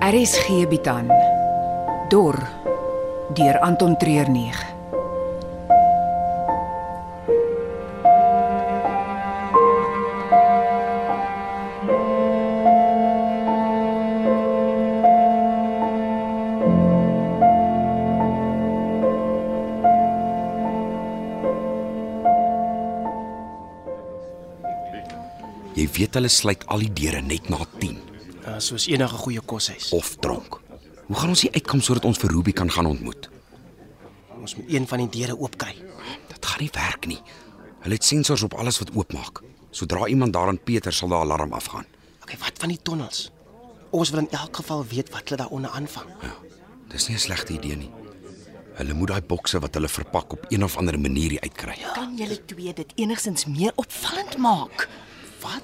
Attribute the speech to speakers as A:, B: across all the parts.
A: RSG bied aan Dor deur Anton Treurnig.
B: Jy weet hulle sluit al die deure net na 10
C: Uh, soos enige goeie koshuis.
B: of dronk. Hoe gaan ons hier uitkom sodat ons vir Ruby kan gaan ontmoet?
C: Ons moet een van die deure oopkry.
B: Dit gaan nie werk nie. Hulle het sensors op alles wat oopmaak. Sodra iemand daarin Pieter sal daai alarm afgaan.
C: Okay, wat van die tonnels? Ons wil in elk geval weet wat hulle daaronder aanvang.
B: Ja. Dis nie 'n slegte idee nie. Hulle moet daai bokse wat hulle verpak op een of ander manier hier uitkry.
D: Kan julle twee dit enigstens meer opvallend maak?
C: Wat?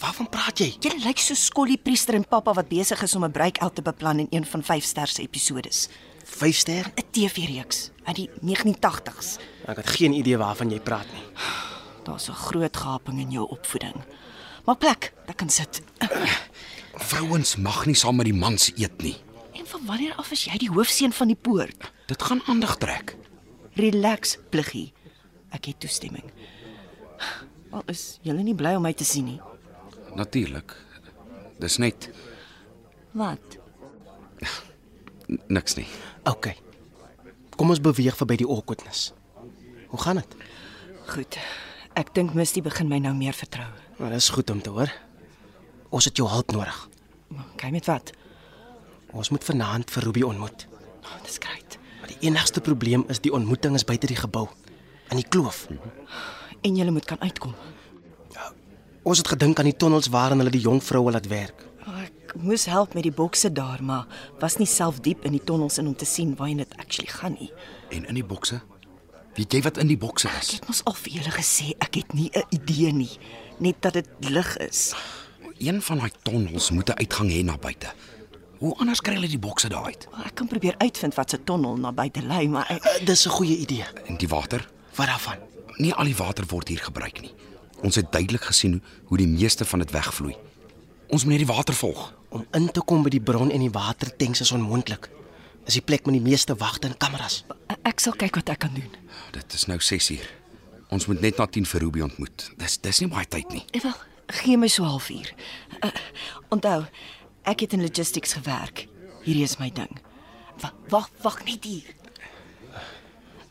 C: Waarvan praat jy?
D: Julle lyk so skollie priester en pappa wat besig is om 'n bruikel te beplan in een van 5 ster se episodes.
C: 5 ster?
D: 'n TV-reeks uit die 1980s.
C: Ek het geen idee waarvan jy praat nie.
D: Daar's 'n groot gaping in jou opvoeding. Maar plek, daar kan sit.
B: Vrouens mag nie saam met die mans eet nie.
D: En van wanneer af is jy die hoofseun van die poort?
B: Dit gaan aandag trek.
D: Relax, pliggie. Ek het toestemming. Al is julle nie bly om my te sien nie.
B: Natuurlik. Dis net
D: Wat?
B: n- niks nie.
C: Okay. Kom ons beweeg verby die awkwardness. Hoe gaan dit?
D: Goed. Ek dink Misty begin my nou meer vertrou.
C: Maar dis goed om te hoor. Ons het jou hulp nodig.
D: Kyk met wat?
C: Ons moet vanaand vir Ruby ontmoet.
D: Oh, Dis great.
C: Maar die enigste probleem is die ontmoeting is buite die gebou, in die kloof.
D: En julle moet kan uitkom.
C: Ons het gedink aan die tonnels waarin hulle die jong vroue laat werk.
D: Ek moes help met die bokse daar, maar was nie self diep in die tonnels in om te sien waarheen dit actually gaan nie.
B: En in die bokse? Weet jy wat in die bokse
D: Ek
B: is?
D: het mos al vir julle gesê ek het nie 'n idee nie, net dat dit lig is.
B: Een van daai tonnels moet 'n uitgang hê na buite. Hoe anders kry hulle die bokse daar uit?
D: Maar Ek kan probeer uitvind wat se tonnel na buite lei, maar ek
C: Uh, dis 'n goeie idee.
B: En die water?
C: Wat daarvan?
B: Nie al die water word hier gebruik nie. Ons het duidelik gesien hoe die meeste van dit wegvloei. Ons moet net die water volg.
C: Om in te kom by die bron en die watertanks is onmoontlik. Dis die plek met die meeste wagte en kameras.
D: ek sal kyk wat ek kan doen.
B: Dit is nou 6uur. Ons moet net na 10 vir Ruby ontmoet. Dis dis nie baie tyd nie.
D: Eh, Wel, gee my so halfuur. Uh, onthou, ek het in logistics gewerk. Hierdie is my ding. Wa- Wag, wag net hier.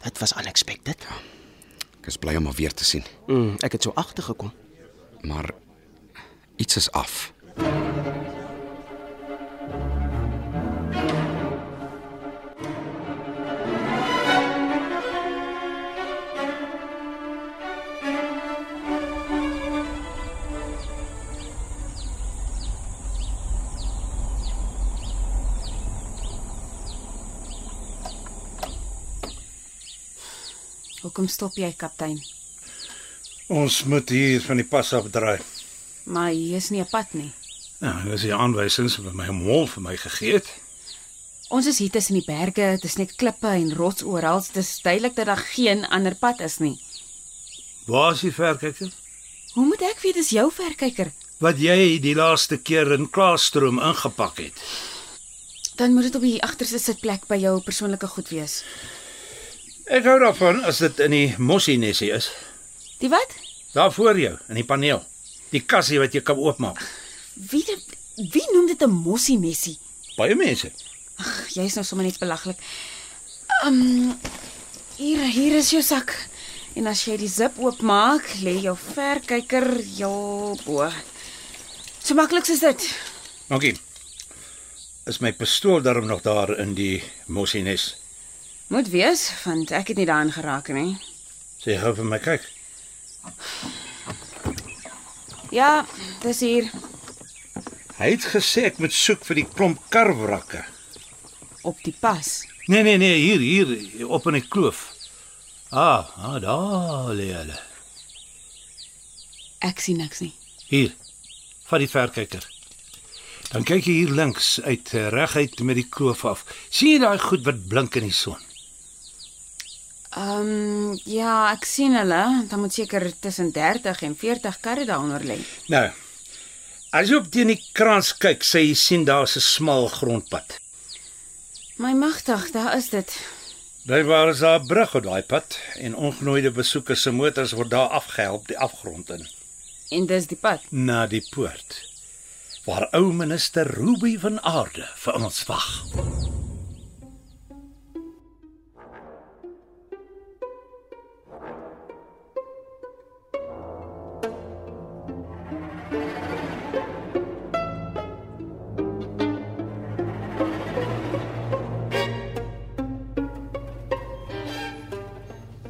C: Dit was unexpected.
B: Ek is bly om haar weer te sien,
C: Mm, ek het so agtergekom.
B: maar iets is af.
E: Hoekom stop jy, kaptein?
F: Ons moet hier van die pas afdraai.
E: Maar hier is nie 'n pad nie.
F: Ja, dis die aanwysings wat my mol vir my gegee het.
E: Ons is hier tussen die berge, dit is net klippe en rots oral. Dit is duidelik dat daar geen ander pad is nie.
F: Waar is die verkyker?
E: Hoe moet ek weet dis jou verkyker?
F: Wat jy die laaste keer in Klaastroom ingepak het.
E: Dan moet dit op die agterste sitplek by jou persoonlike goed wees.
F: Ek hou daarvan as dit in die mossienesie is.
E: Die wat?
F: Daar voor jou in die paneel. Die kassie wat jy kan oopmaak.
E: Wie dit, wie noem dit 'n mossie messie?
F: Baie mense.
E: Ag, jy's nou sommer net belaglik. Um hier hier is jou sak. En as jy die zip oopmaak, lê jou verkyker heel bo. So maklik is dit.
F: Dankie. Is my pistool darm nog daar in die mossienes?
E: Moet wees, want ek het nie daaraan geraak nie.
F: Sê gou vir my kyk.
E: Ja, dis hier.
F: Hy het gesê ek moet soek vir die klomp karwrakke.
E: Op die pas.
F: Nee nee nee, hier hier op in die kloof. Ah, ah daar lê hulle.
E: Ek sien niks nie.
F: Hier. Vat die verkyker. Dan kyk jy hier links uit eh, reguit met die kloof af. sien jy daai goed wat blink in die son?
E: Ehm um, ja, ek sien hulle. Dan moet seker tussen 30 en 40 karre daaronder lê.
F: Nou. As jy op teen die krans kyk, sê jy sien daar's 'n smal grondpad.
E: My magtig, daar is dit.
F: Blykbaar is daar 'n brug op daai pad en ongenooide besoekers se motors word daar afgehelp die afgrond in
E: En dis die pad.
F: na die poort waar ou minister Ruby van Aarde vir ons wag.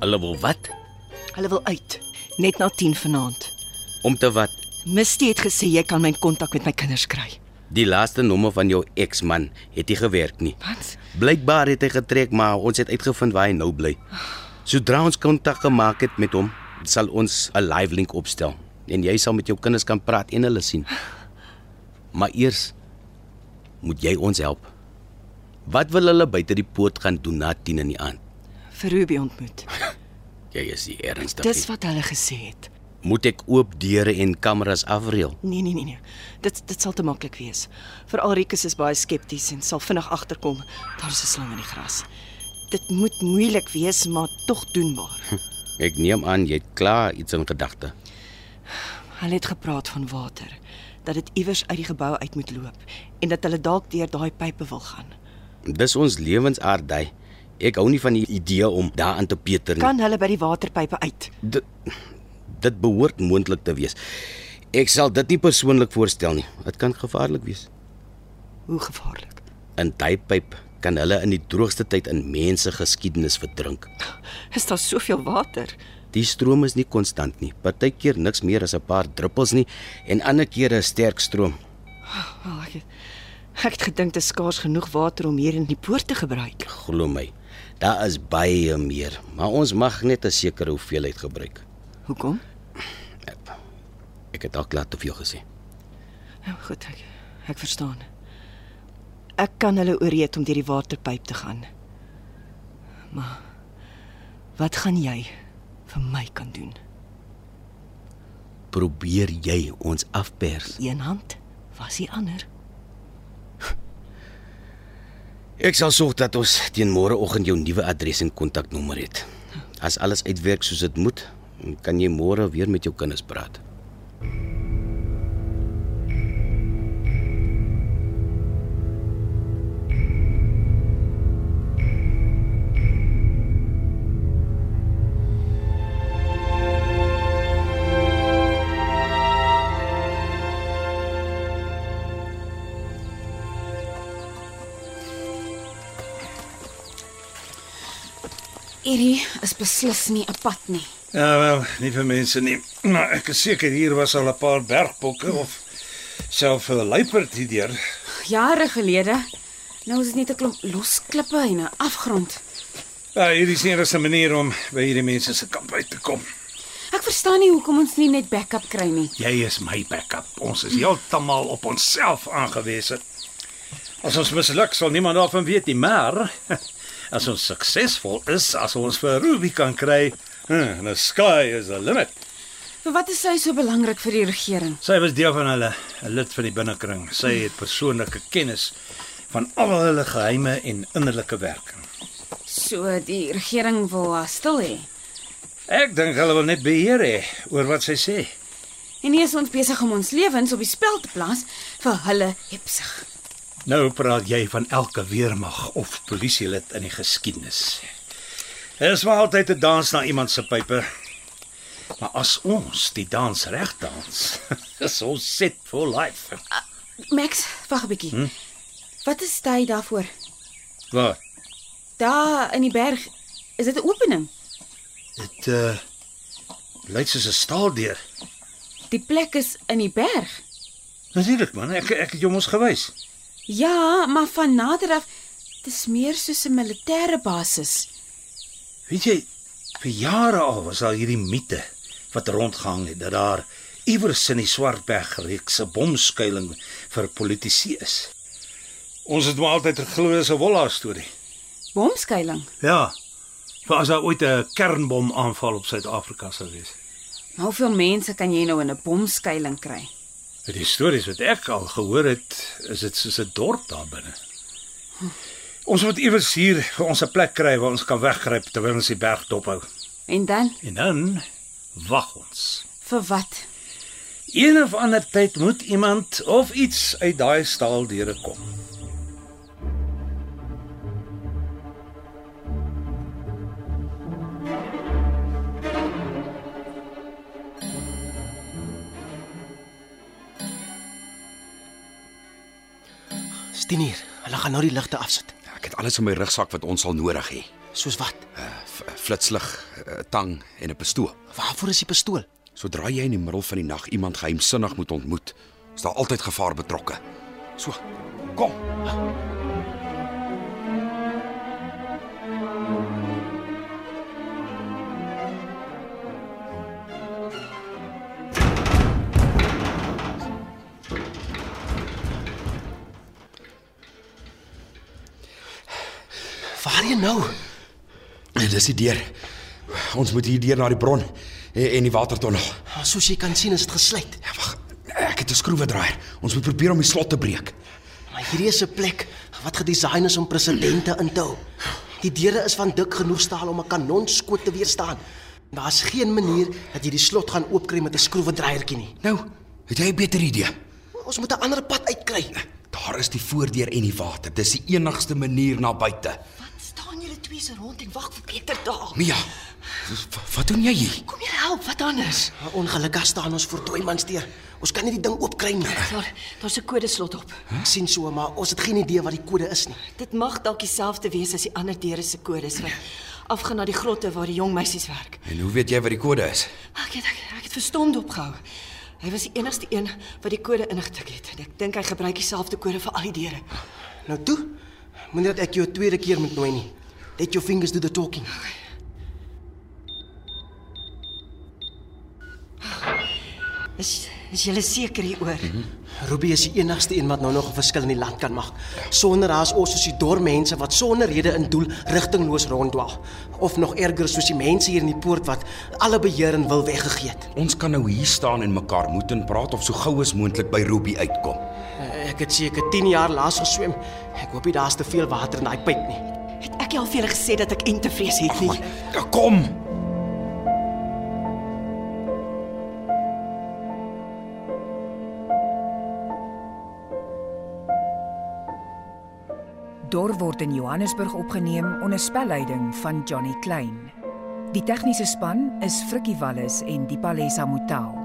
G: Hulle wil wat?
D: Hulle wil uit, net na 10 vanaand.
G: Om te wat?
D: Misty het gesê jy kan my in kontak met my kinders kry.
G: Die laaste nommer van jou eksman het nie gewerk nie.
D: Wat?
G: Blykbaar het hy getrek, maar ons het uitgevind waar hy nou bly. Sodra ons kontak gemaak het met hom, sal ons 'n live link opstel en jy sal met jou kinders kan praat en hulle sien. Maar eers moet jy ons help. Wat wil hulle buite die poort gaan doen na 10 in die aand?
D: Vir Ruby ontmoet.
G: Jy is die ernstigste.
D: Dis wat hulle gesê het.
G: Moet ek oop deure en kameras afreël?
D: Nee nee nee nee. Dit dit sal te maklik wees. Veral Rikus is baie skepties en sal vinnig agterkom daar's 'n slang in die gras. Dit moet moeilik wees, maar tog doenbaar.
G: Ek neem aan jy het klaar iets in gedagte.
D: Hulle het gepraat van water, dat dit iewers uit die gebou uit moet loop en dat hulle dalk deur daai pype wil gaan.
G: Dis ons lewensaard daai. Ek hou nie van die idee om daaraan te peter nie.
D: Kan hulle by die waterpype uit?
G: Dit dit behoort moontlik te wees. Ek sal dit nie persoonlik voorstel nie. Dit kan gevaarlik wees.
D: Hoe gevaarlik.
G: In Taipyp kan hulle in die droogste tyd in mense geskiedenis verdrink.
D: Is daar soveel water?
G: Die stroom is nie konstant nie. Partykeer niks meer as 'n paar druppels nie en ander kere 'n sterk stroom.
D: Wel, ek het, ek het gedink dit is skaars genoeg water om hier in die poort te gebruik.
G: Glo my, daar is baie meer, maar ons mag net 'n sekere hoeveelheid gebruik.
D: Hoekom?
G: Ek het al klaar te veel gesê.
D: Nou goed, ek ek verstaan. Ek kan hulle ooreed om deur die waterpyp te gaan. Maar wat gaan jy vir my kan doen?
G: Probeer jy ons afpers?
D: Een hand was die ander.
G: Ek sal sorg dat ons teen môreoggend jou nuwe adres en kontaknommer het. As alles uitwerk soos dit moet, kan jy môre weer met jou kinders praat.
E: Hierdie is beslis nie 'n pad nie.
F: Ja wel, nie vir mense nie. Maar ek is seker hier was al 'n paar bergbokke of selfs 'n luiperd hier deur.
E: Jare gelede. Nou is dit net 'n klomp los klippe en 'n afgrond.
F: Ja, hier is nie eens 'n manier om by hierdie mense se kamp uit te kom.
E: Ek verstaan nie hoekom ons nie net backup kry nie.
F: Jy is my backup. Ons is heeltemal op onsself aangewese. As ons misluk, sal niemand daarvan weet nie, maar as ons suksesvol is, as ons vir Ruby kan kry, hmm, the sky is the limit.
E: Vir wat is sy so belangrik vir die regering?
F: Sy was deel van hulle, 'n lid van die binnekring. Sy het persoonlike kennis van al hulle geheime en innerlike werking.
E: So die regering wil haar stil hê.
F: Ek dink hulle wil net beheer hê oor wat sy sê.
E: En nie is ons besig om ons lewens op die spel te plaas vir hulle hepsig.
F: Nou praat jy van elke weermag of polisielid in die geskiedenis. Dit is maar altyd 'n dans na iemand se pype. Maar as ons die dans reg dans, is ons set for life.
E: Max, wag 'n bietjie. Wat is jy daarvoor?
F: Wat?
E: Daar in die berg is dit 'n opening.
F: Dit uh lyk soos 'n staaldeur.
E: Die plek is in die berg.
F: Natuurlik man, ek ek het jou mos gewys.
E: Ja, maar van nader af dis meer soos 'n militêre basis.
F: Weet jy, vir jare al was al hierdie mite wat rondgehang het dat daar iewers in die Swartberg reeks 'n bomskuiling vir politici is. Ons het maar altyd geglo dis 'n wolla storie.
E: Bomskuiling.
F: Ja. Vir as daar ooit 'n kernbom aanval op Suid-Afrika sou wees.
E: Maar hoeveel mense kan jy nou in 'n nou bomskuiling kry?
F: Met die stories wat ek al gehoor het, is dit soos 'n dorp daar binne. Ons moet iewers hier vir ons 'n plek kry waar ons kan wegkruip terwyl ons die berg dophou.
E: En dan
F: En dan wag ons.
E: vir wat?
F: Een of ander tyd moet iemand of iets uit daai staal deure kom.
C: Dis 10 uur. Hulle gaan nou die ligte afsit.
B: Ek het alles in my rugsak wat ons sal nodig hê.
C: Soos wat?
B: Uh, f- flitslig, 'n tang en 'n pistool.
C: Waarvoor is die pistool?
B: Sodra jy in die middel van die nag iemand geheimsinnig moet ontmoet, is daar altyd gevaar betrokke. So, kom.
C: Waarheen nou?
B: En Nee, dis die deur. Ons moet hier deur na die bron en, en die watertonnel.
C: Maar Ah, Soos jy kan sien is dit gesluit.
B: Ja, wag. Ek het 'n skroewedraaier. Ons moet probeer om die slot te breek.
C: Maar hierdie is 'n plek wat gedesyn is om presidente in te hou. Die deure is van dik genoeg staal om 'n kanonskoot te weerstaan. Daar's geen manier dat jy die slot gaan oopkry met 'n skroewedraaiertjie nie.
B: Nou, het jy 'n beter idee?
C: Ons moet 'n ander pad uitkry.
B: Daar is die voordeur en die water. Dis die enigste manier na buite.
D: Staan julle twee so rond en wag vir Pieter daar.
B: Mia, w- wat doen jy hier?
D: Kom julle help, wat anders?
C: Maar Ongelukkig staan ons voor toe man steur. Ons kan nie die ding oopkry nie.
D: Daar daar's 'n kodeslot op.
C: Ek sien so, maar ons het geen idee wat die kode is nie.
D: Dit mag dalk dieselfde wees as die ander deure se kodes wat afgaan na die grotte waar die jong meisies werk.
B: En hoe weet jy wat die kode is?
D: Ah, Ek het ek, ek het verstomd opgehou. Hy was die enigste een wat die kode ingetik het en ek dink hy gebruik dieselfde kode vir al die deure.
C: Nou toe. Moenie dat ek jou 'n tweede keer moet nooi nie. Let your fingers do the talking.
D: Is is jy seker hieroor?
C: Ruby is die enigste een wat nou nog 'n verskil in die land kan maak. Sonder haar is ons soos die dorp mense wat sonder rede in doel rigtingloos ronddwaal, of nog erger soos die mense hier in die poort wat alle beheer en wil weggegee het.
B: Ons kan nou hier staan en mekaar moet en praat of so gou as moontlik by Ruby uitkom.
C: Eh, Ek het seker 10 jaar laas geswem. Ek hoop nie daar's te veel water in daai pyp nie.
D: Het ek jou al vir julle gesê dat ek entevrees het nie?
B: Ja, kom.
A: Dor word in Johannesburg opgeneem onder spelleiding van Johnny Klein. Die tegniese span is Frikkie Wallis en Dipalesa Motelo.